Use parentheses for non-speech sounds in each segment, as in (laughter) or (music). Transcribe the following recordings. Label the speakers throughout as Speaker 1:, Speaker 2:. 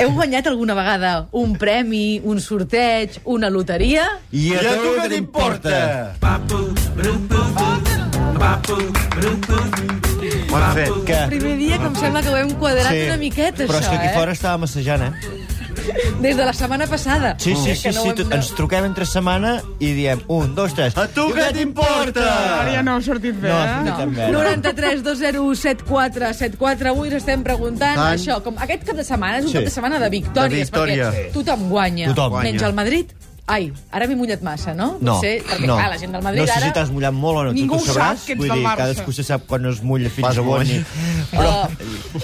Speaker 1: Heu guanyat alguna vegada un premi, un sorteig, una loteria?
Speaker 2: I a,
Speaker 3: I a
Speaker 2: tu què t'importa?
Speaker 3: Ho hem fet.
Speaker 2: Què?
Speaker 1: Primer dia que em sembla que ho hem quadrat
Speaker 2: Sí,
Speaker 1: una miqueta,
Speaker 2: però és
Speaker 1: això,
Speaker 2: que aquí
Speaker 1: eh?
Speaker 2: fora estava massejant, eh?
Speaker 1: Des de la setmana passada.
Speaker 2: Sí, sí,
Speaker 1: Eh,
Speaker 2: sí,
Speaker 1: que no ho
Speaker 2: sí,
Speaker 1: hem-
Speaker 2: tot, ens truquem entre setmana i diem un, dos, tres.
Speaker 3: A tu què t'importa?
Speaker 4: Ara ja no ha sortit bé,
Speaker 2: No,
Speaker 4: eh?
Speaker 2: no.
Speaker 1: No. 93 201 7474 Avui ens estem preguntant
Speaker 3: Tant.
Speaker 1: això, com aquest cap de setmana és un
Speaker 2: Sí.
Speaker 1: cap de setmana de victòries,
Speaker 3: De victòria.
Speaker 1: perquè tothom guanya,
Speaker 2: Tothom guanya.
Speaker 1: menys el Madrid. Ai, ara m'he mullat massa, no?
Speaker 2: No,
Speaker 1: Potser, perquè,
Speaker 2: no.
Speaker 1: clar, la gent del Madrid
Speaker 2: no sé
Speaker 1: ara...
Speaker 2: si t'has mullat molt o no,
Speaker 4: Ningú
Speaker 2: tu t'ho sabràs.
Speaker 4: sap que ets
Speaker 2: Vull
Speaker 4: del
Speaker 2: dir,
Speaker 4: Barça.
Speaker 2: cadascú se sap quan es mulla fins
Speaker 3: Vas
Speaker 2: a on.
Speaker 3: guany.
Speaker 2: i- Però,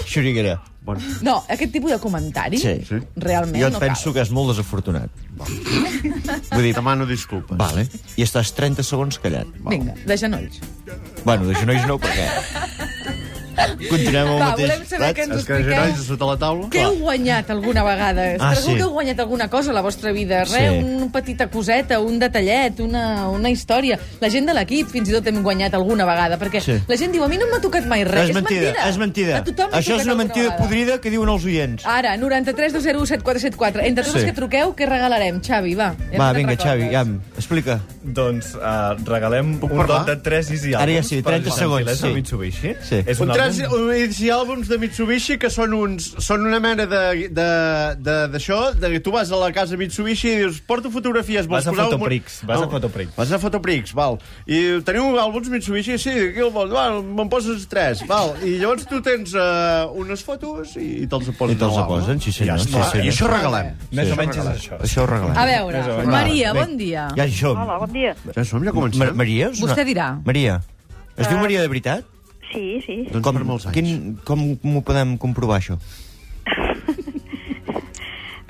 Speaker 2: xuriguera,
Speaker 3: Bon.
Speaker 1: No, aquest tipus de comentari,
Speaker 2: Sí. Sí.
Speaker 1: realment,
Speaker 2: jo
Speaker 1: no
Speaker 2: et penso que és molt desafortunat.
Speaker 3: Vull dir, demano disculpes.
Speaker 2: Vale. I estàs 30 segons callat.
Speaker 1: cal. Vinga, de genolls.
Speaker 2: Bueno, de genolls no, perquè... Continuem amb el
Speaker 1: Va,
Speaker 2: mateix.
Speaker 1: volem saber què ens
Speaker 3: Els que generals
Speaker 1: expliqueu.
Speaker 3: sota la taula...
Speaker 1: Què heu guanyat alguna vegada?
Speaker 2: Ah,
Speaker 1: Ah, Segur
Speaker 2: sí.
Speaker 1: que heu guanyat alguna cosa a la vostra vida. Re,
Speaker 2: Sí.
Speaker 1: sí. una petita coseta, un detallet, una, una història. La gent de l'equip fins i tot hem guanyat alguna vegada, perquè
Speaker 2: Sí.
Speaker 1: sí. la gent diu, a mi no m'ha tocat mai res.
Speaker 2: és mentida, és mentida.
Speaker 1: A tothom li ha
Speaker 2: Això
Speaker 1: tocat
Speaker 2: és una
Speaker 1: alguna
Speaker 2: mentida
Speaker 1: vegada. Ah,
Speaker 2: podrida que diuen els oients.
Speaker 1: Ara, 93 201 7474. Entre tots
Speaker 2: Sí.
Speaker 1: sí. els que truqueu, què regalarem? Xavi, va. Ja
Speaker 2: Va,
Speaker 1: no te'n
Speaker 2: vinga,
Speaker 1: recordes.
Speaker 2: Xavi, ja, explica.
Speaker 5: Doncs uh, regalem
Speaker 3: Puc
Speaker 5: un
Speaker 3: parlar?
Speaker 5: lot de 3 Easy
Speaker 2: Ara ja
Speaker 5: Albums
Speaker 2: sí,
Speaker 5: per
Speaker 2: 30
Speaker 5: Joan
Speaker 2: segons,
Speaker 5: Filesa
Speaker 2: sí.
Speaker 5: Mitsubishi.
Speaker 2: Sí.
Speaker 5: És
Speaker 3: Un
Speaker 5: un,
Speaker 3: trans,
Speaker 5: àlbum...
Speaker 3: un i àlbums de Mitsubishi que són, uns, són una mena de- de- de- d'això, de, de, que tu vas a la casa Mitsubishi i dius, porto fotografies, vols
Speaker 5: Vas a
Speaker 3: posar un munt-"
Speaker 5: Fotoprix, vas a Fotoprix.
Speaker 3: Vas a Fotoprix, val. I teniu àlbums Mitsubishi? Sí, aquí el vols, val, me'n poses tres, val. I llavors tu tens uh, unes fotos i, i te'ls
Speaker 2: I
Speaker 3: poses.
Speaker 2: te'ls
Speaker 3: a l'àlbum.
Speaker 2: posen, sí senyor.
Speaker 3: Ja
Speaker 2: sí,
Speaker 3: està, I això
Speaker 2: senyor.
Speaker 3: regalem.
Speaker 5: Més
Speaker 2: Sí.
Speaker 5: o menys és això.
Speaker 2: Això ho regalem.
Speaker 1: A veure,
Speaker 5: Més o menys.
Speaker 1: Maria,
Speaker 5: Va,
Speaker 1: bon dia.
Speaker 2: Ja hi som.
Speaker 6: Hola, bon dia.
Speaker 3: Ja som, ja comencem. Eh,
Speaker 2: Ma Maria? és
Speaker 1: Vostè dirà.
Speaker 2: Maria. Es diu Maria de veritat?
Speaker 6: Sí, sí.
Speaker 3: Doncs per molts anys.
Speaker 2: Quin, com m'ho podem comprovar, això?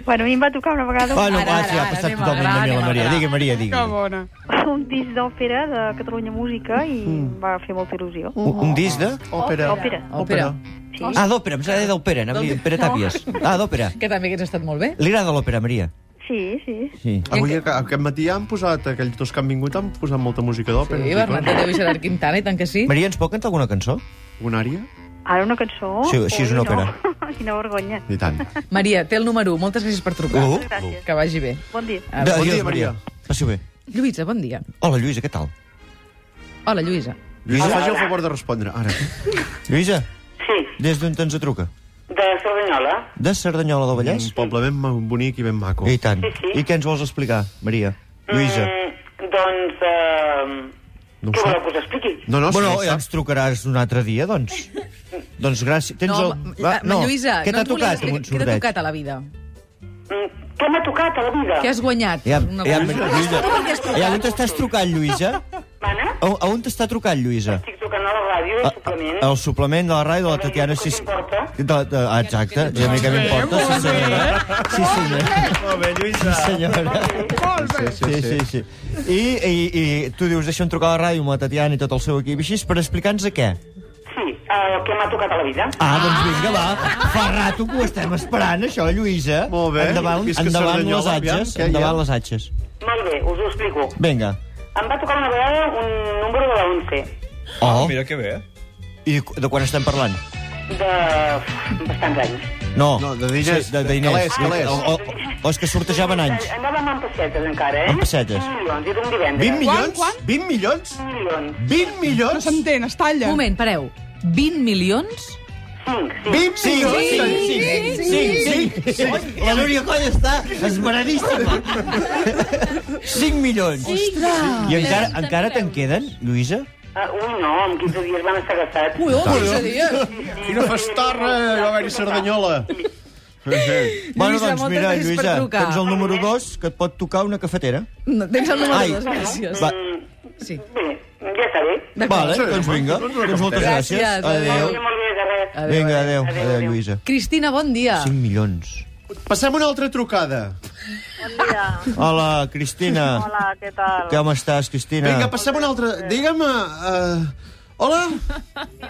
Speaker 6: Bueno, a mi em va tocar una vegada un,
Speaker 2: Bueno,
Speaker 1: ara,
Speaker 2: va,
Speaker 1: ara,
Speaker 2: sí, ha
Speaker 1: ara,
Speaker 2: passat
Speaker 1: anem a
Speaker 2: totalment
Speaker 1: gra,
Speaker 2: de mi
Speaker 1: anem
Speaker 2: la
Speaker 1: a
Speaker 2: Maria.
Speaker 1: gra.
Speaker 2: Digue, Maria,
Speaker 4: Que
Speaker 2: digue.
Speaker 4: bona.
Speaker 6: un disc d'òpera de Catalunya Música i em va fer molta il·lusió.
Speaker 2: Un, un disc de...
Speaker 3: Òpera.
Speaker 6: Òpera.
Speaker 1: Òpera.
Speaker 6: Sí.
Speaker 2: Ah, d'òpera, em sembla que era d'òpera, anava a dir Pere Tàpies. Ah, d'òpera.
Speaker 1: Que també hagués estat molt bé.
Speaker 2: Li agrada l'òpera, Maria?
Speaker 6: Sí, sí.
Speaker 2: Sí.
Speaker 3: Avui a- aquest matí han posat, aquells dos que han vingut, han posat molta música d'òpera.
Speaker 1: Sí, Bernat Tadeu i Gerard Quintana, i tant que sí.
Speaker 2: Maria, ens pot cantar alguna cançó?
Speaker 3: Una àrea?
Speaker 6: Ara una cançó...
Speaker 2: Sí, així és una
Speaker 6: Ui, no.
Speaker 2: òpera.
Speaker 6: (laughs) Quina vergonya.
Speaker 3: I tant.
Speaker 1: Maria, té el número 1. Moltes gràcies per trucar.
Speaker 2: Uh.
Speaker 6: Gràcies.
Speaker 1: Que vagi bé.
Speaker 6: Bon dia.
Speaker 1: Ah,
Speaker 2: Adéu,
Speaker 3: bon dia, Maria.
Speaker 2: Passi-ho bé.
Speaker 1: Lluïsa, bon dia.
Speaker 2: Hola, Lluïsa, què tal?
Speaker 1: Hola, Lluïsa.
Speaker 3: Lluïsa, faci el favor de respondre, ara.
Speaker 2: Lluïsa,
Speaker 7: Sí,
Speaker 2: des d'on ens truca?
Speaker 7: de Cerdanyola.
Speaker 2: De Cerdanyola del Vallès?
Speaker 3: Un poble ben ma- bonic i ben maco.
Speaker 2: I tant.
Speaker 7: Sí, sí.
Speaker 2: I què ens vols explicar, Maria? Lluïsa.
Speaker 7: Mm, doncs... Eh,
Speaker 3: No ho
Speaker 7: què
Speaker 3: sap.
Speaker 7: voleu que us expliqui?
Speaker 3: No, no,
Speaker 2: bueno,
Speaker 3: sí,
Speaker 2: ja
Speaker 3: ja ho
Speaker 2: ens trucaràs un altre dia, doncs. doncs gràcies. Tens
Speaker 1: No,
Speaker 2: el...
Speaker 1: va, no, Lluïsa,
Speaker 2: què
Speaker 1: no
Speaker 2: t'ha
Speaker 1: ens volies
Speaker 2: tocat?
Speaker 1: explicar
Speaker 2: Un
Speaker 1: Què t'ha
Speaker 2: sorteig.
Speaker 1: tocat a la vida?
Speaker 7: Mm, què m'ha tocat a la vida?
Speaker 1: Què has guanyat?
Speaker 2: Ja,
Speaker 1: Una
Speaker 2: ja,
Speaker 1: cosa.
Speaker 2: Lluïsa,
Speaker 1: Per què has trucat?
Speaker 2: ja, on t'estàs trucant, Lluïsa?
Speaker 7: Mana?
Speaker 2: A, a on t'està trucant, Lluïsa?
Speaker 7: Estic trucant a la ràdio,
Speaker 2: A, a,
Speaker 7: simplement.
Speaker 2: al suplement de la ràdio de la
Speaker 7: Però
Speaker 2: Tatiana
Speaker 7: jo què
Speaker 2: Sis...
Speaker 7: t'importa?
Speaker 2: De, de, ah, exacte, ja a mi que m'importa, sí senyora. Sí, senyora.
Speaker 5: Molt bé, Lluïsa.
Speaker 2: Sí, senyora.
Speaker 4: Molt bé.
Speaker 2: Sí, sí, sí. I, i, i tu dius, deixa'm trucar a la ràdio amb la Tatiana i tot el seu equip, així, per explicar-nos a què.
Speaker 7: Sí, el que m'ha tocat a la vida.
Speaker 2: Ah, doncs vinga, va. Fa rato que ho estem esperant, això, Lluïsa.
Speaker 3: Molt bé.
Speaker 2: Endavant,
Speaker 3: Visca
Speaker 2: endavant
Speaker 3: Cerdanyola,
Speaker 2: les atxes.
Speaker 3: aviam, què hi ha?
Speaker 2: Endavant les atxes.
Speaker 7: Molt bé, us ho explico.
Speaker 2: Vinga.
Speaker 7: Em va tocar una vegada un número de la 11.
Speaker 3: Ah,
Speaker 2: Oh,
Speaker 5: Mira que bé.
Speaker 2: i de quan estem parlant?
Speaker 7: De bastants anys.
Speaker 2: No.
Speaker 3: No, de diners,
Speaker 2: de, de diners.
Speaker 3: calés, calés.
Speaker 2: O, o, o és que sortejaven anys.
Speaker 7: Anàvem amb pessetes encara, eh?
Speaker 2: Amb pessetes.
Speaker 7: 20 milions, era un divendres.
Speaker 3: 20 milions?
Speaker 4: Quan,
Speaker 3: 20 milions?
Speaker 7: 20 milions.
Speaker 3: 20
Speaker 4: No
Speaker 3: milions?
Speaker 4: s'entén, es talla.
Speaker 1: Un moment, pareu. 20 milions?
Speaker 7: 5, sí.
Speaker 3: 20 milions?
Speaker 2: sí, sí, sí, sí, sí. La Núria Coll està esmeradíssima. 5 milions. Ostres. I encara, encara te'n queden, Lluïsa?
Speaker 7: Ah, ui, no, en 15 dies van estar gastats.
Speaker 1: Ui,
Speaker 2: Doncs.
Speaker 1: oh, és a dir...
Speaker 3: Quina festarra va haver-hi a Cerdanyola. Sí, sí.
Speaker 2: Bueno,
Speaker 1: Lluïsa,
Speaker 2: doncs
Speaker 1: moltes
Speaker 2: mira,
Speaker 1: gràcies per
Speaker 2: Lluïsa,
Speaker 1: trucar.
Speaker 2: tens el número 2 que et pot tocar una cafetera.
Speaker 1: No, tens el número
Speaker 2: Ai.
Speaker 1: 2, gràcies.
Speaker 2: Va,
Speaker 1: Sí.
Speaker 7: Bé, ja està bé.
Speaker 2: Vale,
Speaker 3: Sí,
Speaker 2: doncs
Speaker 3: home,
Speaker 2: vinga.
Speaker 3: doncs una
Speaker 2: Doncs moltes
Speaker 1: cafetera.
Speaker 2: gràcies.
Speaker 1: Gràcies,
Speaker 2: Adéu.
Speaker 1: adéu.
Speaker 7: Molt bé, de res.
Speaker 2: Vinga, adéu.
Speaker 7: Adéu,
Speaker 2: Adéu,
Speaker 7: adéu.
Speaker 2: Lluïsa.
Speaker 1: Cristina, bon dia.
Speaker 2: 5 milions.
Speaker 3: Passem una altra trucada.
Speaker 2: Hola, Cristina.
Speaker 6: Hola, què tal?
Speaker 2: Com estàs, Cristina?
Speaker 3: Vinga, passem una altra... Digue'm... Uh, hola?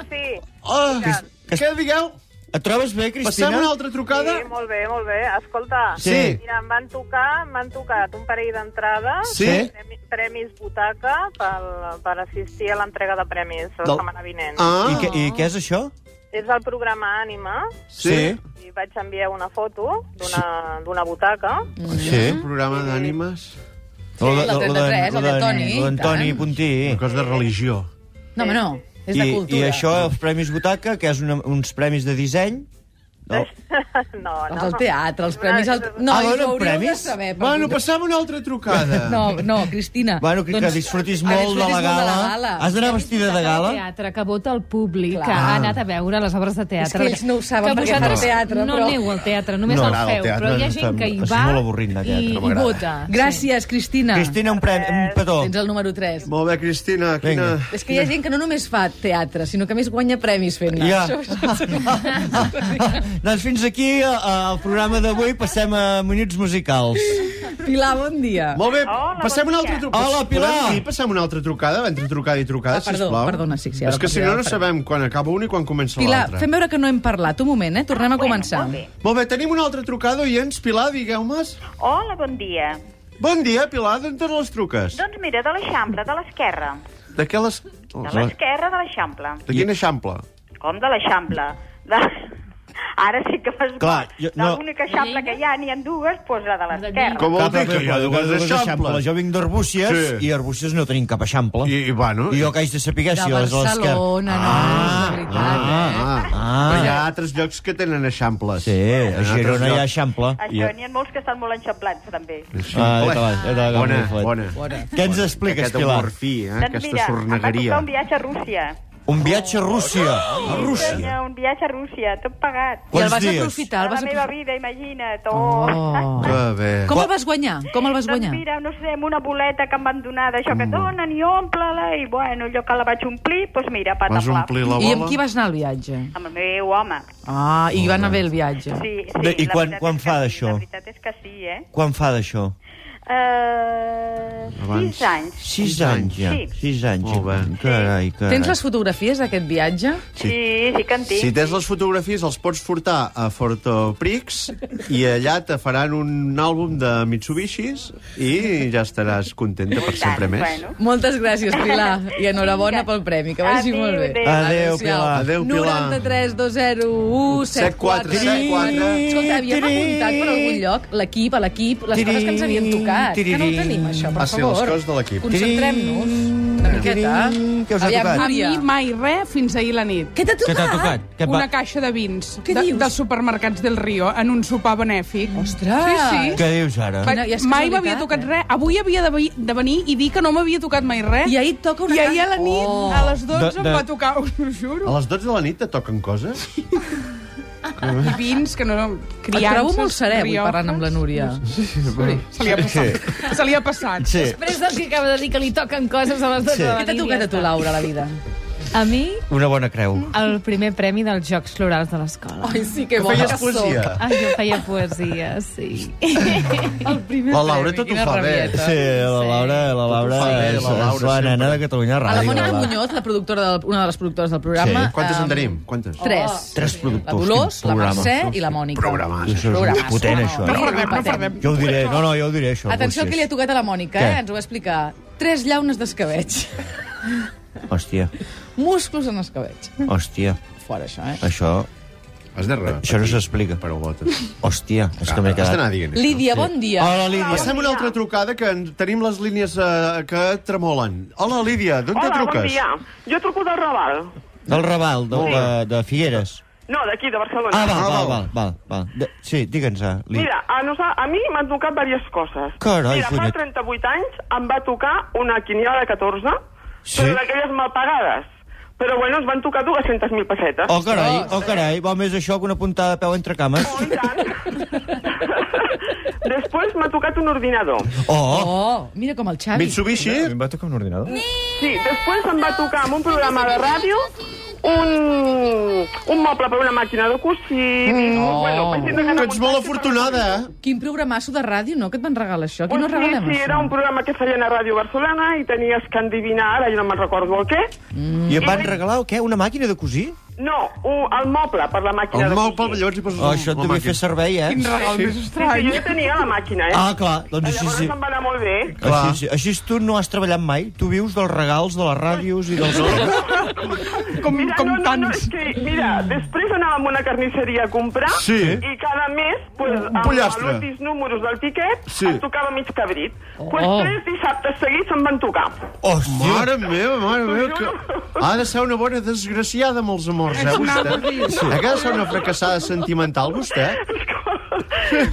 Speaker 6: Sí,
Speaker 3: Hola?
Speaker 2: Què-
Speaker 3: Què digueu?
Speaker 2: Et trobes bé, Cristina?
Speaker 3: Passem una altra trucada?
Speaker 6: molt bé, molt bé. Escolta,
Speaker 2: Sí.
Speaker 6: mira, em van tocar, m'han tocat un parell d'entrades,
Speaker 3: Sí?
Speaker 6: premis butaca per, per assistir a l'entrega de premis la
Speaker 3: Del-
Speaker 6: setmana vinent.
Speaker 2: I,
Speaker 3: Ah,
Speaker 2: què, I què és això?
Speaker 6: És del programa Ànima
Speaker 3: Sí.
Speaker 6: i vaig enviar una foto d'una d'una butaca.
Speaker 3: Sí. Un programa d'ànimes.
Speaker 2: Lo de-
Speaker 1: el
Speaker 2: lo de-
Speaker 1: 33,
Speaker 2: lo
Speaker 1: el d'Antoni,
Speaker 2: de- lo d'Antoni
Speaker 1: i tant.
Speaker 2: Puntí.
Speaker 3: Un cos de religió.
Speaker 1: No, home, no. És
Speaker 2: I,
Speaker 1: de cultura.
Speaker 2: I això, els Premis Butaca, que és una, uns premis de disseny... No.
Speaker 6: No,
Speaker 1: Doncs
Speaker 6: no.
Speaker 1: el teatre, els premis... El... No,
Speaker 2: Ah,
Speaker 1: i
Speaker 2: donen
Speaker 1: ho hauríeu
Speaker 2: premis?
Speaker 1: De saber, per
Speaker 3: Bueno,
Speaker 1: cultura.
Speaker 3: passam una altra trucada.
Speaker 1: (laughs) No, no, Cristina. Doncs
Speaker 2: Bueno, que, que Doncs- disfrutis molt de la gala. Has d'anar vestida de gala?
Speaker 8: teatre, que vota el públic,
Speaker 1: Clar.
Speaker 8: que ha anat a veure les obres de teatre.
Speaker 1: Ah. És que ells no ho saben,
Speaker 8: que
Speaker 1: perquè fan
Speaker 8: vosaltres
Speaker 1: teatre,
Speaker 8: no
Speaker 1: però-
Speaker 8: aneu al teatre, només
Speaker 2: No,
Speaker 8: el
Speaker 2: ara, al
Speaker 8: feu.
Speaker 2: teatre
Speaker 8: però hi ha
Speaker 2: és
Speaker 8: gent que hi
Speaker 2: tan-
Speaker 8: va
Speaker 2: és molt avorrit, de teatre,
Speaker 8: i,
Speaker 2: no
Speaker 8: i
Speaker 2: m'agrada.
Speaker 8: vota.
Speaker 1: Gràcies, Cristina.
Speaker 2: Cristina, un, premi, un petó.
Speaker 1: Tens el número 3.
Speaker 3: Molt bé, Cristina, quina...
Speaker 2: Vinga.
Speaker 1: És que hi ha gent que no només fa teatre, sinó que a més guanya premis fent-ne.
Speaker 2: Ja.
Speaker 1: Això- això-
Speaker 2: (laughs) doncs fins aquí eh, el programa d'avui. Passem a minuts musicals.
Speaker 1: Pilar, bon dia.
Speaker 3: Molt bé,
Speaker 6: Hola,
Speaker 3: passem
Speaker 6: bon
Speaker 3: una
Speaker 6: dia.
Speaker 3: altra trucada.
Speaker 2: Hola, Pilar.
Speaker 3: Podem dir, passem una altra trucada, entre trucada i trucada,
Speaker 1: Ah, perdó,
Speaker 3: sisplau.
Speaker 1: perdona, sí, sí, ara
Speaker 3: És que si
Speaker 1: perdó,
Speaker 3: no, no
Speaker 1: perdó.
Speaker 3: sabem quan acaba un i quan comença
Speaker 1: Pilar,
Speaker 3: l'altre.
Speaker 1: fem veure que no hem parlat. Un moment, eh? Tornem a començar.
Speaker 6: Bueno, molt bé.
Speaker 3: Molt bé, tenim una altra trucada, oients. Pilar, digueu-me's.
Speaker 6: Hola, bon dia.
Speaker 3: Bon dia, Pilar, d'on te les truques?
Speaker 6: Doncs mira, de l'Eixample, de l'esquerra.
Speaker 3: De què les...
Speaker 6: De
Speaker 3: De
Speaker 6: l'esquerra de l'Eixample.
Speaker 3: quin eixample?
Speaker 6: Com de l'Eixample? De... Ara sí que fas...
Speaker 2: Clar, jo- no.
Speaker 6: no. L'única Eixample que hi ha, n'hi ha dues, doncs la de l'esquerra.
Speaker 3: Com vol dir que hi ha
Speaker 2: Cap-
Speaker 3: dues eixamples?
Speaker 2: Jo vinc d'Arbúcies
Speaker 3: Sí.
Speaker 2: i a Arbúcies no tenim cap eixample.
Speaker 3: I, i bueno...
Speaker 2: Oh. I jo que haig de saber si
Speaker 1: De
Speaker 2: les a l'esquerra.
Speaker 1: Barcelona, no, és de veritat,
Speaker 2: ah, eh? Ah,
Speaker 3: Però hi ha altres llocs que tenen eixamples.
Speaker 2: Sí, a Girona hi ha eixample.
Speaker 6: Això, n'hi ha molts que estan molt enxamplats, també.
Speaker 2: Ah, ja te l'has- ja te l'has
Speaker 3: bona,
Speaker 2: camuflat.
Speaker 3: bona.
Speaker 1: Bona.
Speaker 2: Què ens expliques,
Speaker 3: Aquest
Speaker 2: Pilar?
Speaker 3: humor fi, eh?
Speaker 2: Ah,
Speaker 6: Doncs
Speaker 3: Aquesta
Speaker 6: mira, em va
Speaker 3: sornegueria.
Speaker 6: tocar un viatge a Rússia.
Speaker 2: Un viatge a Rússia. A Rússia.
Speaker 6: Senyor, un viatge a Rússia, tot pagat.
Speaker 1: I el
Speaker 2: Quants
Speaker 1: vas
Speaker 2: dies?
Speaker 1: aprofitar? El
Speaker 6: la
Speaker 1: vas
Speaker 6: meva vida,
Speaker 1: aprofitar?
Speaker 6: imagina't. Oh.
Speaker 1: Oh.
Speaker 3: Que bé.
Speaker 1: Com el vas guanyar? Com el vas guanyar?
Speaker 6: Doncs mira, no sé, amb una boleta que em van donar d'això
Speaker 2: Mm.
Speaker 6: que et donen i omple-la, i bueno, allò que la vaig omplir, doncs mira, patapla.
Speaker 3: Vas omplir la bola?
Speaker 1: I amb qui vas anar al viatge?
Speaker 6: Amb el meu home.
Speaker 1: Ah, i va anar bé el viatge.
Speaker 6: Sí, sí.
Speaker 2: Bé, i
Speaker 6: la
Speaker 2: quan-
Speaker 6: veritat
Speaker 2: quan
Speaker 6: és que
Speaker 2: fa
Speaker 6: sí,
Speaker 2: d'això?
Speaker 6: La veritat és que sí, eh?
Speaker 2: Quan fa d'això?
Speaker 6: Uh,
Speaker 3: Abans.
Speaker 6: sis anys.
Speaker 2: Sis anys, ja.
Speaker 6: Sí.
Speaker 2: Sis anys.
Speaker 3: Molt bé.
Speaker 2: Carai, carai.
Speaker 1: Tens les fotografies d'aquest viatge?
Speaker 6: Sí, sí que en tinc.
Speaker 3: Si tens les fotografies, els pots portar a Fortoprix i allà te faran un àlbum de Mitsubishis i ja estaràs contenta per sempre més.
Speaker 6: Bueno.
Speaker 1: Moltes gràcies, Pilar, i enhorabona
Speaker 6: Vinga.
Speaker 1: pel premi, que vagi
Speaker 6: Adéu,
Speaker 1: molt bé.
Speaker 6: adéu.
Speaker 2: Adéu,
Speaker 1: Adéu,
Speaker 2: Pilar.
Speaker 3: Adéu, Pilar.
Speaker 1: 93 201 74
Speaker 3: 74.
Speaker 1: Escolta, havíem apuntat per algun lloc l'equip, a l'equip, les coses que ens havien tocat. Que no ho tenim, això, per
Speaker 3: Ah, sí, les
Speaker 1: favor.
Speaker 3: coses de l'equip.
Speaker 1: Concentrem-nos una miqueta.
Speaker 2: Què us ha
Speaker 1: Aviam,
Speaker 2: tocat?
Speaker 4: A
Speaker 1: Núria.
Speaker 4: mi mai res fins ahir la nit.
Speaker 1: Què t'ha
Speaker 2: Què
Speaker 1: tocat?
Speaker 2: t'ha tocat? Què et va-
Speaker 4: Una caixa de vins
Speaker 1: Què
Speaker 4: de,
Speaker 1: dius?
Speaker 4: dels supermercats del Rio en un sopar benèfic.
Speaker 1: Ostres!
Speaker 4: Sí, sí.
Speaker 2: Què dius ara?
Speaker 1: Quina- i és
Speaker 4: mai
Speaker 1: casualitat,
Speaker 4: m'havia tocat
Speaker 1: eh?
Speaker 4: res. Avui havia de, vi- de venir i dir que no m'havia tocat mai res.
Speaker 1: I ahir et toca una
Speaker 4: I ahir
Speaker 1: caixa-
Speaker 4: a la nit,
Speaker 1: Oh.
Speaker 4: a les 12,
Speaker 2: De-
Speaker 4: de,
Speaker 2: de-
Speaker 4: em va tocar, us ho juro.
Speaker 3: A les 12 de la nit te toquen coses?
Speaker 4: I vins que no...
Speaker 1: Et
Speaker 4: Criances,
Speaker 1: trobo molt serè avui
Speaker 4: riofes.
Speaker 1: parlant amb la Núria.
Speaker 4: Se li ha passat. Se li ha passat.
Speaker 2: Sí.
Speaker 8: Després del que acaba de dir que li toquen coses a les dues
Speaker 2: Sí.
Speaker 8: de la
Speaker 1: Què t'ha
Speaker 8: nit,
Speaker 1: tocat
Speaker 8: ja
Speaker 1: a tu,
Speaker 8: està.
Speaker 1: Laura, a la vida?
Speaker 8: A mi,
Speaker 2: Una bona creu.
Speaker 8: el primer premi dels Jocs Florals de l'escola.
Speaker 1: Ai, sí, que
Speaker 3: Feies poesia?
Speaker 8: Ah, jo feia poesia,
Speaker 6: (laughs)
Speaker 8: sí.
Speaker 1: El primer
Speaker 3: La Laura
Speaker 1: premi,
Speaker 3: tot ho
Speaker 1: quina
Speaker 3: fa bé.
Speaker 1: rabieta.
Speaker 2: Sí, la Laura, la Laura
Speaker 3: Tot ho fa bé,
Speaker 2: és,
Speaker 3: la Laura,
Speaker 2: és la
Speaker 3: sempre.
Speaker 2: nena de Catalunya
Speaker 1: A la
Speaker 2: Ràdio.
Speaker 1: Mònica
Speaker 2: Laura.
Speaker 1: Muñoz, la productora del, una de les productores del programa...
Speaker 2: Sí.
Speaker 3: Quantes en
Speaker 1: em,
Speaker 3: tenim? Quantes?
Speaker 1: Tres.
Speaker 2: Tres
Speaker 1: La
Speaker 2: productors,
Speaker 1: Dolors,
Speaker 2: quin
Speaker 1: la
Speaker 2: programa.
Speaker 1: Mercè i la Mònica.
Speaker 3: Programàs.
Speaker 2: Això és
Speaker 1: Programasso.
Speaker 2: potent, això.
Speaker 4: No
Speaker 1: Mira,
Speaker 4: perdem, no
Speaker 1: empatem.
Speaker 4: perdem.
Speaker 2: Jo ho diré, no, no, jo ho diré, això.
Speaker 1: Atenció
Speaker 2: Rússia.
Speaker 1: que li ha tocat a la Mònica,
Speaker 2: Què?
Speaker 1: eh? ens ho va explicar. Tres llaunes (laughs) d'escabetx.
Speaker 2: Hòstia,
Speaker 1: Musclos en escabetx.
Speaker 2: hòstia,
Speaker 1: Fora, això, eh?
Speaker 2: això,
Speaker 3: Has de repetir.
Speaker 2: això no s'explica.
Speaker 3: Però botes.
Speaker 2: Hòstia, és que m'he
Speaker 3: Has d'anar
Speaker 2: quedat...
Speaker 3: dient això.
Speaker 1: Lídia, bon dia.
Speaker 2: Hola, Lídia.
Speaker 3: Passem una altra trucada, que en- tenim les línies eh, que tremolen. Hola, Lídia, d'on te
Speaker 9: Hola,
Speaker 3: truques?
Speaker 9: bon dia. Jo truco del Raval.
Speaker 2: Del Raval, de, de, de Figueres.
Speaker 9: No, d'aquí, de Barcelona.
Speaker 2: Ah, val,
Speaker 3: Ah, val.
Speaker 2: val, val, val, val. De, sí, digue'ns, ah, Lídia.
Speaker 9: Mira, a, nosa, a mi m'han tocat diverses coses.
Speaker 2: Carai,
Speaker 9: Mira,
Speaker 2: follet.
Speaker 9: fa 38 anys em va tocar una quiniela de 14,
Speaker 2: Sí?
Speaker 9: però d'aquelles mal pagades. Però bueno, ens van tocar 200.000 pessetes.
Speaker 2: Oh, carai, oh, carai, va més això que una puntada de peu entre cames.
Speaker 9: Oh, i
Speaker 2: (laughs)
Speaker 9: tant. (laughs) Després m'ha tocat un ordinador.
Speaker 2: Oh,
Speaker 1: Oh, mira com el Xavi.
Speaker 3: Mitsubishi?
Speaker 5: A mi em va tocar un ordinador?
Speaker 9: Sí, després em va tocar amb un programa de ràdio un, un moble per una màquina de cosir... Mm.
Speaker 1: Oh.
Speaker 9: Bueno, vaig tindre
Speaker 3: Tu
Speaker 9: anar
Speaker 3: ets
Speaker 9: muntant
Speaker 3: molt
Speaker 9: per-
Speaker 3: afortunada, eh?
Speaker 1: Quin programasso de ràdio, no? Que et van regalar això. Aquí no
Speaker 9: Pues
Speaker 1: regalem
Speaker 9: sí, sí,
Speaker 1: això.
Speaker 9: era un programa que feien a Ràdio Barcelona i tenies que endivinar, ara jo no me'n recordo el què.
Speaker 3: Mm.
Speaker 2: I em van regalar, o què, una màquina de cosir?
Speaker 9: No, un, el moble per la màquina
Speaker 3: El
Speaker 9: de
Speaker 3: mou pel
Speaker 9: cosir.
Speaker 3: llavors hi poses
Speaker 2: Oh, això et devia fer servei, eh?
Speaker 4: Quin regal més
Speaker 9: Sí,
Speaker 4: estrany.
Speaker 9: jo tenia la màquina, eh?
Speaker 2: Ah, clar, doncs així
Speaker 9: Llavors
Speaker 2: sí.
Speaker 9: em va anar molt bé.
Speaker 2: Així, sí. així tu no has treballat mai? Tu vius dels regals, de les ràdios i dels...
Speaker 4: Com,
Speaker 9: Mira,
Speaker 4: com
Speaker 9: no, no, no,
Speaker 4: tants.
Speaker 9: és que, mira, després anàvem a una carnisseria a comprar
Speaker 3: Sí.
Speaker 9: i cada mes, pues, amb els
Speaker 3: pollastre.
Speaker 9: últims números del tiquet,
Speaker 3: Sí.
Speaker 9: sí. et tocava mig cabrit. Oh. Pues tres dissabtes seguits em van tocar.
Speaker 2: Hòstia!
Speaker 3: Mare meva, mare meva, que... Ha de ser una bona desgraciada amb els amors, eh, vostè? Sí. Ha de ser una fracassada sentimental, vostè?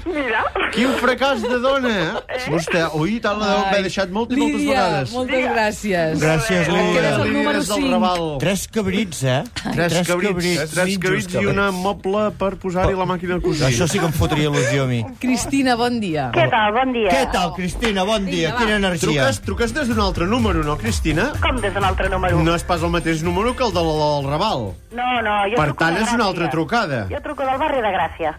Speaker 9: Mira,
Speaker 3: Quin fracàs de dona, eh? Vostè, ui, tant la deu haver deixat moltes, moltes
Speaker 1: Lídia,
Speaker 3: vegades.
Speaker 1: moltes gràcies.
Speaker 2: Gràcies,
Speaker 1: Quedes
Speaker 2: Lídia.
Speaker 1: el número
Speaker 3: Lídia és del
Speaker 1: 5.
Speaker 3: Raval.
Speaker 2: Tres cabrits, eh?
Speaker 3: Tres cabrits,
Speaker 2: cabrits.
Speaker 3: tres cabrits i una moble per posar-hi la màquina de cosir.
Speaker 2: Això sí que em fotria il·lusió a mi.
Speaker 1: Cristina, bon dia.
Speaker 6: Què tal? Bon dia.
Speaker 2: Què tal, Cristina? Bon dia, quina energia.
Speaker 3: Truques, truques des d'un altre número, no, Cristina?
Speaker 6: Com des d'un altre número?
Speaker 3: No és pas el mateix número que el de la- del Raval.
Speaker 6: no, no jo
Speaker 3: Per
Speaker 6: truco
Speaker 3: tant,
Speaker 6: de
Speaker 3: és una
Speaker 6: Gràcia.
Speaker 3: altra trucada.
Speaker 6: Jo truco del barri de Gràcia,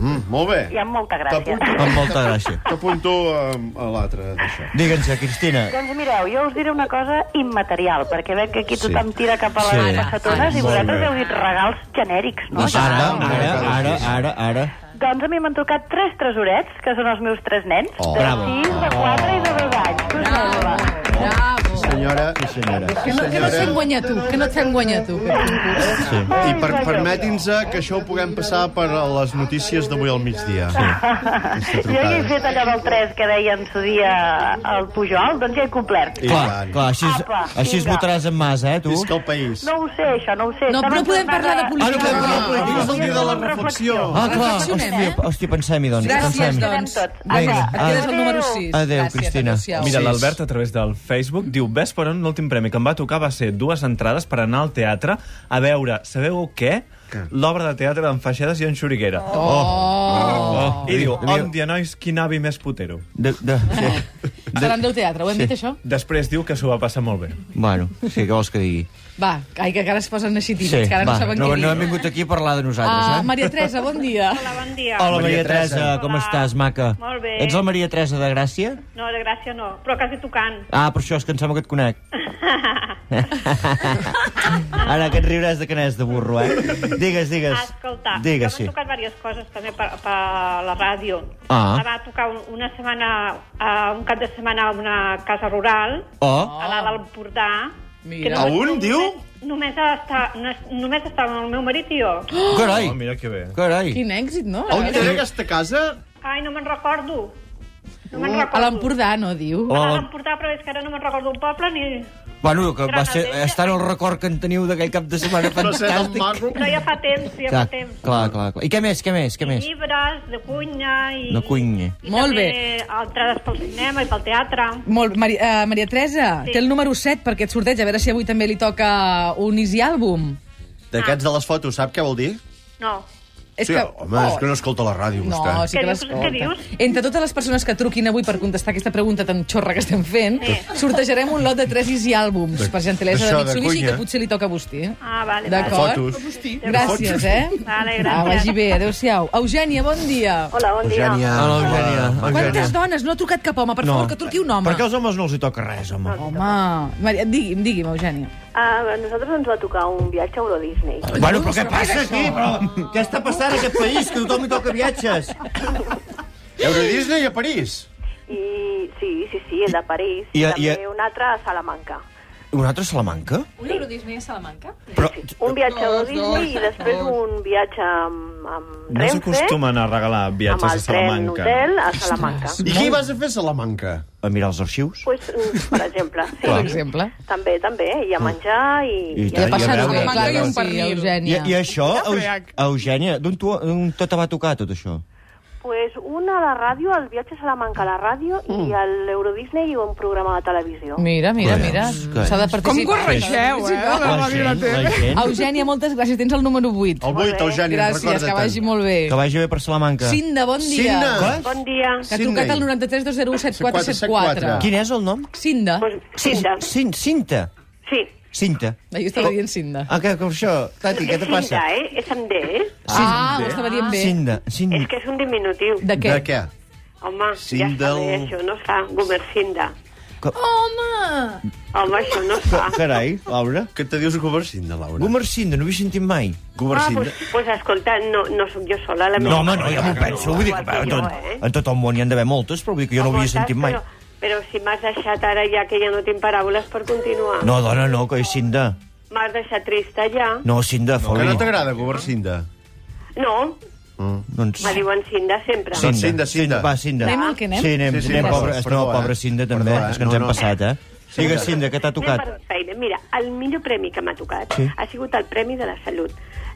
Speaker 3: Mm, molt bé.
Speaker 6: i amb molta gràcia.
Speaker 3: T'apunto.
Speaker 2: Amb molta gràcia.
Speaker 3: T'apunto um, a l'altre d'això.
Speaker 2: Digue'ns, eh, Cristina.
Speaker 6: Doncs mireu, jo us diré una cosa immaterial, perquè veig que aquí
Speaker 3: Sí. Ah,
Speaker 6: tothom tira cap a les
Speaker 2: Sí.
Speaker 6: sí. passatones i
Speaker 2: Molt
Speaker 6: vosaltres
Speaker 2: bé.
Speaker 6: heu dit regals genèrics, no?
Speaker 2: Ara, ara, ara, ara, ara.
Speaker 6: Doncs a mi m'han trucat tres tresorets, que són els meus tres nens,
Speaker 2: Oh.
Speaker 6: de
Speaker 2: Bravo.
Speaker 6: 6, de 4 i de 2 anys. Que us sembla?
Speaker 1: Bravo.
Speaker 3: Senyora,
Speaker 2: Sí, senyora.
Speaker 1: Que no, que no et fem guanyar tu, que no et fem guanyar tu.
Speaker 3: i per, permeti'ns eh, que això ho puguem passar per a les notícies d'avui al migdia. Sí.
Speaker 6: Jo ja he fet allò del 3 que deia en su dia el Pujol, doncs ja he complert.
Speaker 2: Clar, clar, així, es-
Speaker 6: Apa,
Speaker 2: així es
Speaker 6: vinga.
Speaker 2: votaràs en massa, eh, tu?
Speaker 3: Visca el país.
Speaker 6: No ho sé, això, no ho sé.
Speaker 1: No,
Speaker 6: Estava
Speaker 1: no podem
Speaker 6: tornant
Speaker 1: parlar de
Speaker 6: a-
Speaker 1: política.
Speaker 2: Ah, no podem
Speaker 3: Ah,
Speaker 2: parlar de
Speaker 3: és el dia de la reflexió.
Speaker 2: Ah, clar,
Speaker 1: Reflexionem,
Speaker 2: hòstia,
Speaker 1: eh?
Speaker 2: hòstia pensem-hi, doncs.
Speaker 1: Gràcies,
Speaker 2: pensem-hi.
Speaker 1: doncs.
Speaker 6: tots.
Speaker 1: Vinga,
Speaker 2: Vinga,
Speaker 1: et quedes el
Speaker 6: adéu.
Speaker 1: número 6.
Speaker 2: Adéu, Cristina.
Speaker 5: Mira,
Speaker 2: Sí.
Speaker 5: l'Albert, a través del Facebook, diu Ves per on l'últim premi que em va tocar va ser dues entrades per anar al teatre a veure, sabeu què? L'obra de teatre d'en Feixedes i en Xuriguera. Oh.
Speaker 1: Oh.
Speaker 5: I diu,
Speaker 2: Mira.
Speaker 5: hòndia, nois, quin avi més putero.
Speaker 2: De, de, sí.
Speaker 1: Seran del teatre, ho hem dit, això?
Speaker 5: Després diu que s'ho va passar molt bé.
Speaker 2: Bueno, sí, què vols que digui?
Speaker 1: Va, ai, que encara es posen així tímids, que ara
Speaker 2: va,
Speaker 1: no saben
Speaker 2: no,
Speaker 1: què dir.
Speaker 2: no hem vingut aquí a parlar de nosaltres,
Speaker 1: Ah,
Speaker 2: eh?
Speaker 1: Maria Teresa, bon dia.
Speaker 10: Hola, bon dia.
Speaker 2: Hola, Maria Teresa, com
Speaker 10: Hola.
Speaker 2: estàs, maca?
Speaker 10: Molt bé.
Speaker 2: Ets la Maria Teresa de Gràcia?
Speaker 10: No, de gràcia no, però quasi tocant.
Speaker 2: Ah, per això és que em sembla que et conec.
Speaker 10: (laughs)
Speaker 2: Ara, que et riuràs de canès de burro, eh? Digues, digues.
Speaker 10: Escolta,
Speaker 2: Digues,
Speaker 10: m'han
Speaker 2: sí.
Speaker 10: tocat diverses coses també per, per la ràdio.
Speaker 2: Ah.
Speaker 10: Em va tocar un- una setmana, uh, un cap de setmana a una casa rural,
Speaker 2: Oh,
Speaker 10: a
Speaker 1: Ah.
Speaker 10: l'Alt Empordà.
Speaker 1: Mira.
Speaker 10: que
Speaker 3: A un, diu?
Speaker 10: Només, està, només estàvem el meu marit i jo.
Speaker 2: carai,
Speaker 5: Oh, mira que bé.
Speaker 2: carai.
Speaker 1: Quin èxit, no?
Speaker 3: On era aquesta casa?
Speaker 10: Ai, no me'n recordo. No me'n recordo.
Speaker 1: Mm. A l'Empordà, no, diu?
Speaker 10: A
Speaker 2: Oh,
Speaker 10: l'Empordà, però és que ara no me'n recordo el poble ni...
Speaker 2: bueno, que va ser,
Speaker 10: Granadella.
Speaker 2: està en el record que en teniu d'aquell cap de setmana
Speaker 3: No sé, del
Speaker 2: fantàstic.
Speaker 3: Marro.
Speaker 10: Però ja fa temps, ja
Speaker 2: Clar,
Speaker 10: fa temps.
Speaker 2: clar, clar, clar. I què més, què més, què més?
Speaker 10: Llibres, de cuina i...
Speaker 2: De cuina.
Speaker 10: I
Speaker 1: Molt
Speaker 10: també
Speaker 1: bé.
Speaker 10: entrades pel cinema i pel teatre.
Speaker 1: Molt, Maria, uh, Maria Teresa, sí.
Speaker 10: Sí.
Speaker 1: té el número 7 perquè et sorteig, a veure si avui també li toca un easy àlbum.
Speaker 3: D'aquests de les fotos, sap què vol dir?
Speaker 10: No.
Speaker 1: És
Speaker 3: Sí, home, és que no escolta la ràdio,
Speaker 1: No,
Speaker 3: vostè.
Speaker 1: sí que
Speaker 10: Què dius?
Speaker 1: l'escolta.
Speaker 10: Què dius?
Speaker 1: Entre totes les persones que truquin avui per contestar aquesta pregunta tan xorra que estem fent, sortejarem un lot de tres easy àlbums, per gentilesa,
Speaker 3: Això,
Speaker 1: de
Speaker 3: de
Speaker 1: Mitsubishi,
Speaker 3: cuina.
Speaker 1: que potser li toca a vostè.
Speaker 10: Ah, vale, vale.
Speaker 1: D'acord?
Speaker 3: Fotos.
Speaker 1: Gràcies, eh?
Speaker 10: Vale,
Speaker 1: Ah,
Speaker 10: gràcies.
Speaker 1: vagi bé, adéu-siau. Eugènia, bon dia.
Speaker 6: Hola, bon dia.
Speaker 3: Eugènia.
Speaker 2: Hola, Eugènia.
Speaker 3: Ah,
Speaker 1: Quantes dones? No ha trucat cap home, per favor, que truqui un home.
Speaker 2: Per què als homes no els hi toca res, home?
Speaker 1: Home, Maria, digui'm, digui'm, Eugènia.
Speaker 6: A nosaltres ens va tocar un viatge a Euro Disney.
Speaker 2: Bueno, però què passa aquí? Però, què està passant en aquest país? Que tothom hi toca viatges.
Speaker 3: Euro Disney a París.
Speaker 6: I sí, sí, sí, el de París.
Speaker 2: I-
Speaker 6: I,
Speaker 2: i-
Speaker 6: també
Speaker 2: i-
Speaker 6: un altre a Salamanca.
Speaker 2: Un altre a Salamanca?
Speaker 8: Un Eurodisney a Salamanca?
Speaker 2: Però
Speaker 6: Un viatge a Euro Disney i després un viatge amb, amb
Speaker 5: No
Speaker 6: Renfe,
Speaker 5: s'acostumen a regalar
Speaker 6: amb
Speaker 5: viatges a
Speaker 6: el tren
Speaker 5: Salamanca.
Speaker 6: hotel a Salamanca.
Speaker 3: I què hi vas a fer a Salamanca?
Speaker 2: a mirar els arxius?
Speaker 6: Pues, mm, per exemple, sí.
Speaker 1: Per exemple.
Speaker 6: També, també, i a menjar i...
Speaker 2: I
Speaker 1: I a
Speaker 2: tant,
Speaker 1: passar
Speaker 2: veure,
Speaker 1: un
Speaker 2: ja
Speaker 1: clar,
Speaker 2: veure.
Speaker 1: un sí,
Speaker 2: I,
Speaker 1: Eugènia.
Speaker 2: I això, Eug- Eugènia, d'on tu- d'on tot te va tocar, tot això?
Speaker 6: Pues una a la ràdio, el viatge a Salamanca a la ràdio mm. i a l'Euro Disney i un programa de televisió.
Speaker 1: Mira, mira, mira.
Speaker 2: Collons, collons.
Speaker 1: S'ha de
Speaker 4: Com
Speaker 1: participar.
Speaker 4: corregeu, eh? La màquina té.
Speaker 2: la gent.
Speaker 1: Eugènia, moltes gràcies. Tens el número 8.
Speaker 3: El 8, Eugènia,
Speaker 1: Gràcies, que vagi molt bé.
Speaker 2: Que vagi bé per Salamanca.
Speaker 1: Cinda, bon dia.
Speaker 3: Cinda.
Speaker 6: Bon dia.
Speaker 1: Que ha tocat el 93-201-7474.
Speaker 2: Quin és el nom?
Speaker 1: Cinda.
Speaker 6: Pues, Cinta,
Speaker 2: Cin, cinta.
Speaker 6: sí.
Speaker 2: Cinta.
Speaker 1: Ahir estava dient Cinda.
Speaker 2: Ah, que, com això? Tati, què te passa?
Speaker 6: Cinta, eh? És amb D, eh?
Speaker 1: Ah, ho estava dient bé.
Speaker 2: Cinda.
Speaker 6: És
Speaker 2: Cinda.
Speaker 6: que és un diminutiu.
Speaker 1: De què?
Speaker 3: De què?
Speaker 6: Home, ja està
Speaker 3: Sindel.
Speaker 6: bé, això no es fa. Gomercinda.
Speaker 1: Home!
Speaker 6: Home, això no es fa.
Speaker 2: (laughs) Carai, Laura.
Speaker 3: Què te dius Gomersinda, Laura?
Speaker 2: Gomersinda, no ho he sentit mai.
Speaker 6: Ah, pues, pues escolta, no, no sóc jo sola. La meva
Speaker 2: No, home, no,
Speaker 6: mare
Speaker 2: ja m'ho
Speaker 6: era
Speaker 2: penso. Vull dir que
Speaker 6: igual
Speaker 2: en
Speaker 6: que
Speaker 2: tot,
Speaker 6: jo, eh?
Speaker 2: en tot el món hi han d'haver moltes, però vull dir que jo no ho havia
Speaker 6: Moltes,
Speaker 2: sentit mai.
Speaker 6: Però, però si m'has deixat ara ja que ja no tinc paraules per continuar.
Speaker 2: No, dona, no, que és Cinda.
Speaker 6: M'has deixat trista ja.
Speaker 2: No, Cinda, no,
Speaker 3: Que
Speaker 2: foli.
Speaker 3: no t'agrada Gomersinda?
Speaker 6: No,
Speaker 2: Doncs...
Speaker 6: me diuen Cinda sempre.
Speaker 3: Doncs Cinda, Cinda.
Speaker 2: Va, Cinda.
Speaker 1: Anem al que anem?
Speaker 2: Sí, anem,
Speaker 3: Sí, sí,
Speaker 2: anem
Speaker 3: perdó,
Speaker 2: pobre,
Speaker 3: perdó,
Speaker 2: no,
Speaker 3: eh?
Speaker 2: pobre Cinda, també.
Speaker 3: Perdó, eh?
Speaker 2: és que ens
Speaker 3: No,
Speaker 2: hem
Speaker 3: no.
Speaker 2: passat, eh? Digues, Cinda, què t'ha
Speaker 6: Anem
Speaker 2: tocat?
Speaker 6: per feina. Mira, el millor premi que m'ha tocat
Speaker 2: Sí.
Speaker 6: sí. ha sigut el Premi de la Salut.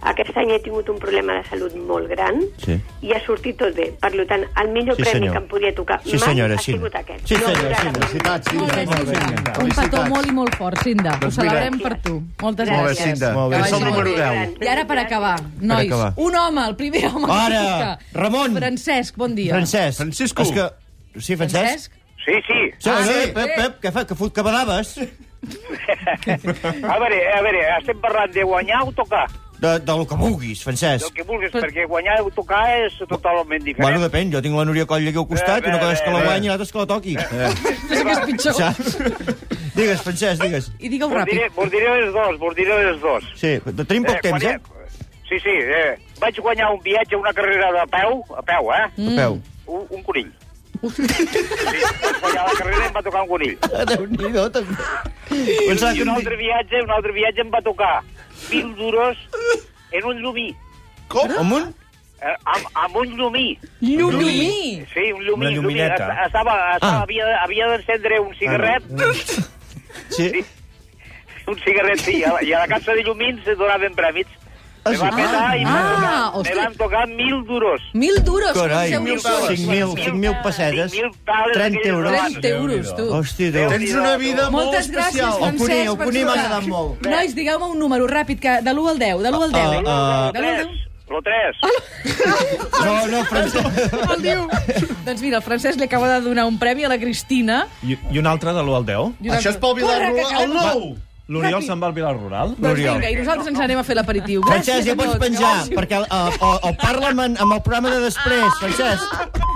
Speaker 6: Aquest any he tingut un problema de salut molt gran
Speaker 2: Sí.
Speaker 6: i ha sortit tot bé. Per lo tant, el millor
Speaker 2: Sí,
Speaker 6: premi
Speaker 2: senyor.
Speaker 6: que em podia tocar
Speaker 2: Sí,
Speaker 6: mai
Speaker 2: senyora,
Speaker 6: ha
Speaker 2: sí.
Speaker 6: sigut aquest.
Speaker 2: Sí, senyora,
Speaker 6: mira,
Speaker 2: sí.
Speaker 3: Felicitats, Cinda.
Speaker 1: Molt bé, Cinda. Un petó
Speaker 3: Felicitats.
Speaker 1: molt i molt fort, Cinda.
Speaker 3: Doncs
Speaker 1: Ho
Speaker 3: mira.
Speaker 1: celebrem per tu. Moltes
Speaker 3: Molt bé,
Speaker 1: gràcies.
Speaker 3: Cinda.
Speaker 2: Molt bé.
Speaker 3: Ets el
Speaker 1: Que vagi
Speaker 3: número
Speaker 1: molt
Speaker 3: 10.
Speaker 1: I ara per acabar, nois,
Speaker 2: acabar.
Speaker 1: un home, el primer home
Speaker 2: Ara,
Speaker 1: que toca.
Speaker 2: Ramon.
Speaker 1: Francesc, bon dia.
Speaker 2: Francesc.
Speaker 3: Francisco.
Speaker 2: És que... Sí, Francesc?
Speaker 1: Francesc?
Speaker 11: Sí, sí.
Speaker 2: Sí, ah, sí.
Speaker 1: sí.
Speaker 2: Pep, Pep, què fa? Que fot que badaves?
Speaker 11: A veure, a veure, estem parlant de guanyar o tocar?
Speaker 2: De, del que vulguis,
Speaker 11: Del
Speaker 2: Francesc.
Speaker 11: que vulguis, perquè guanyar o tocar és totalment
Speaker 2: Bueno, doncs,
Speaker 11: diferent.
Speaker 2: depèn, jo tinc la Núria Coll aquí al costat,
Speaker 11: Eh,
Speaker 2: una cosa és que la
Speaker 11: eh,
Speaker 2: guanyi i l'altra és que la toqui. Eh.
Speaker 1: No sé què és pitjor.
Speaker 2: Saps? Digues, Francesc, digues.
Speaker 1: I digue-ho
Speaker 11: Vos diré,
Speaker 1: ràpid.
Speaker 11: vos diré les dos, vos diré les dos.
Speaker 2: Sí, tenim poc temps, eh?
Speaker 11: guanyar- Sí, sí, eh, vaig guanyar un viatge, una carrera de peu, a peu, eh?
Speaker 2: A peu.
Speaker 11: Un, un conill.
Speaker 2: (laughs)
Speaker 11: Sí, vaig guanyar la carrera i em va tocar un conill.
Speaker 2: Déu-n'hi-do, també. Pensava
Speaker 11: I
Speaker 2: que
Speaker 11: un
Speaker 2: no...
Speaker 11: altre viatge, un altre viatge em va tocar 20 duros en un llumí.
Speaker 2: Com? Amb un...
Speaker 11: Eh, amb, amb un llumí.
Speaker 1: Llumí!
Speaker 11: Sí, un llumí.
Speaker 5: Una
Speaker 11: un llumí.
Speaker 5: llumineta.
Speaker 11: Est- Estava, estava,
Speaker 2: Ah. Mm.
Speaker 11: havia, havia d'encendre un cigarret,
Speaker 2: Sí.
Speaker 11: un cigarret, sí, i a, la- i a la casa de llumins es donaven prèmits.
Speaker 2: Ah,
Speaker 11: Me
Speaker 2: sí?
Speaker 11: va petar i me,
Speaker 1: Ah,
Speaker 11: van tocar,
Speaker 1: hosti.
Speaker 11: me van tocar mil duros.
Speaker 1: Mil duros,
Speaker 2: Carai,
Speaker 1: com
Speaker 11: mil
Speaker 1: deu sols.
Speaker 2: 5.000, 5.000 pessetes,
Speaker 11: 5.000 tales
Speaker 2: 30 euros.
Speaker 11: d'aquelles
Speaker 1: 30 euros, tu.
Speaker 2: Hòstia, Déu.
Speaker 3: Tens una vida molt
Speaker 1: Moltes gràcies,
Speaker 3: especial.
Speaker 2: El
Speaker 1: Francesc.
Speaker 2: Cuní, el
Speaker 1: per
Speaker 2: Cuní m'ha
Speaker 1: trucar.
Speaker 2: agradat molt.
Speaker 1: Nois, digueu-me un número ràpid, que de l'1 al 10, de l'1 al 10.
Speaker 2: Ah, ah,
Speaker 1: De l'1 al 10.
Speaker 11: Lo 3.
Speaker 2: No, no, Francesc.
Speaker 1: El diu.
Speaker 2: (laughs)
Speaker 1: doncs mira, el Francesc li acaba de donar un premi a la Cristina.
Speaker 5: I, i un altre de l'1 al 10?
Speaker 1: I
Speaker 3: Això és pel Vilar
Speaker 1: Corre, que
Speaker 3: Rural. El
Speaker 1: acabem-
Speaker 3: nou!
Speaker 5: L'Oriol
Speaker 1: Ràpid.
Speaker 5: se'n va al Vilar Rural?
Speaker 1: Doncs vinga, i nosaltres ens anem a fer l'aperitiu. Gràcies
Speaker 2: Francesc, ja
Speaker 1: a
Speaker 2: pots
Speaker 1: tots.
Speaker 2: penjar,
Speaker 1: Adéu.
Speaker 2: perquè el, el, el, el Parlament amb el programa de després, Francesc.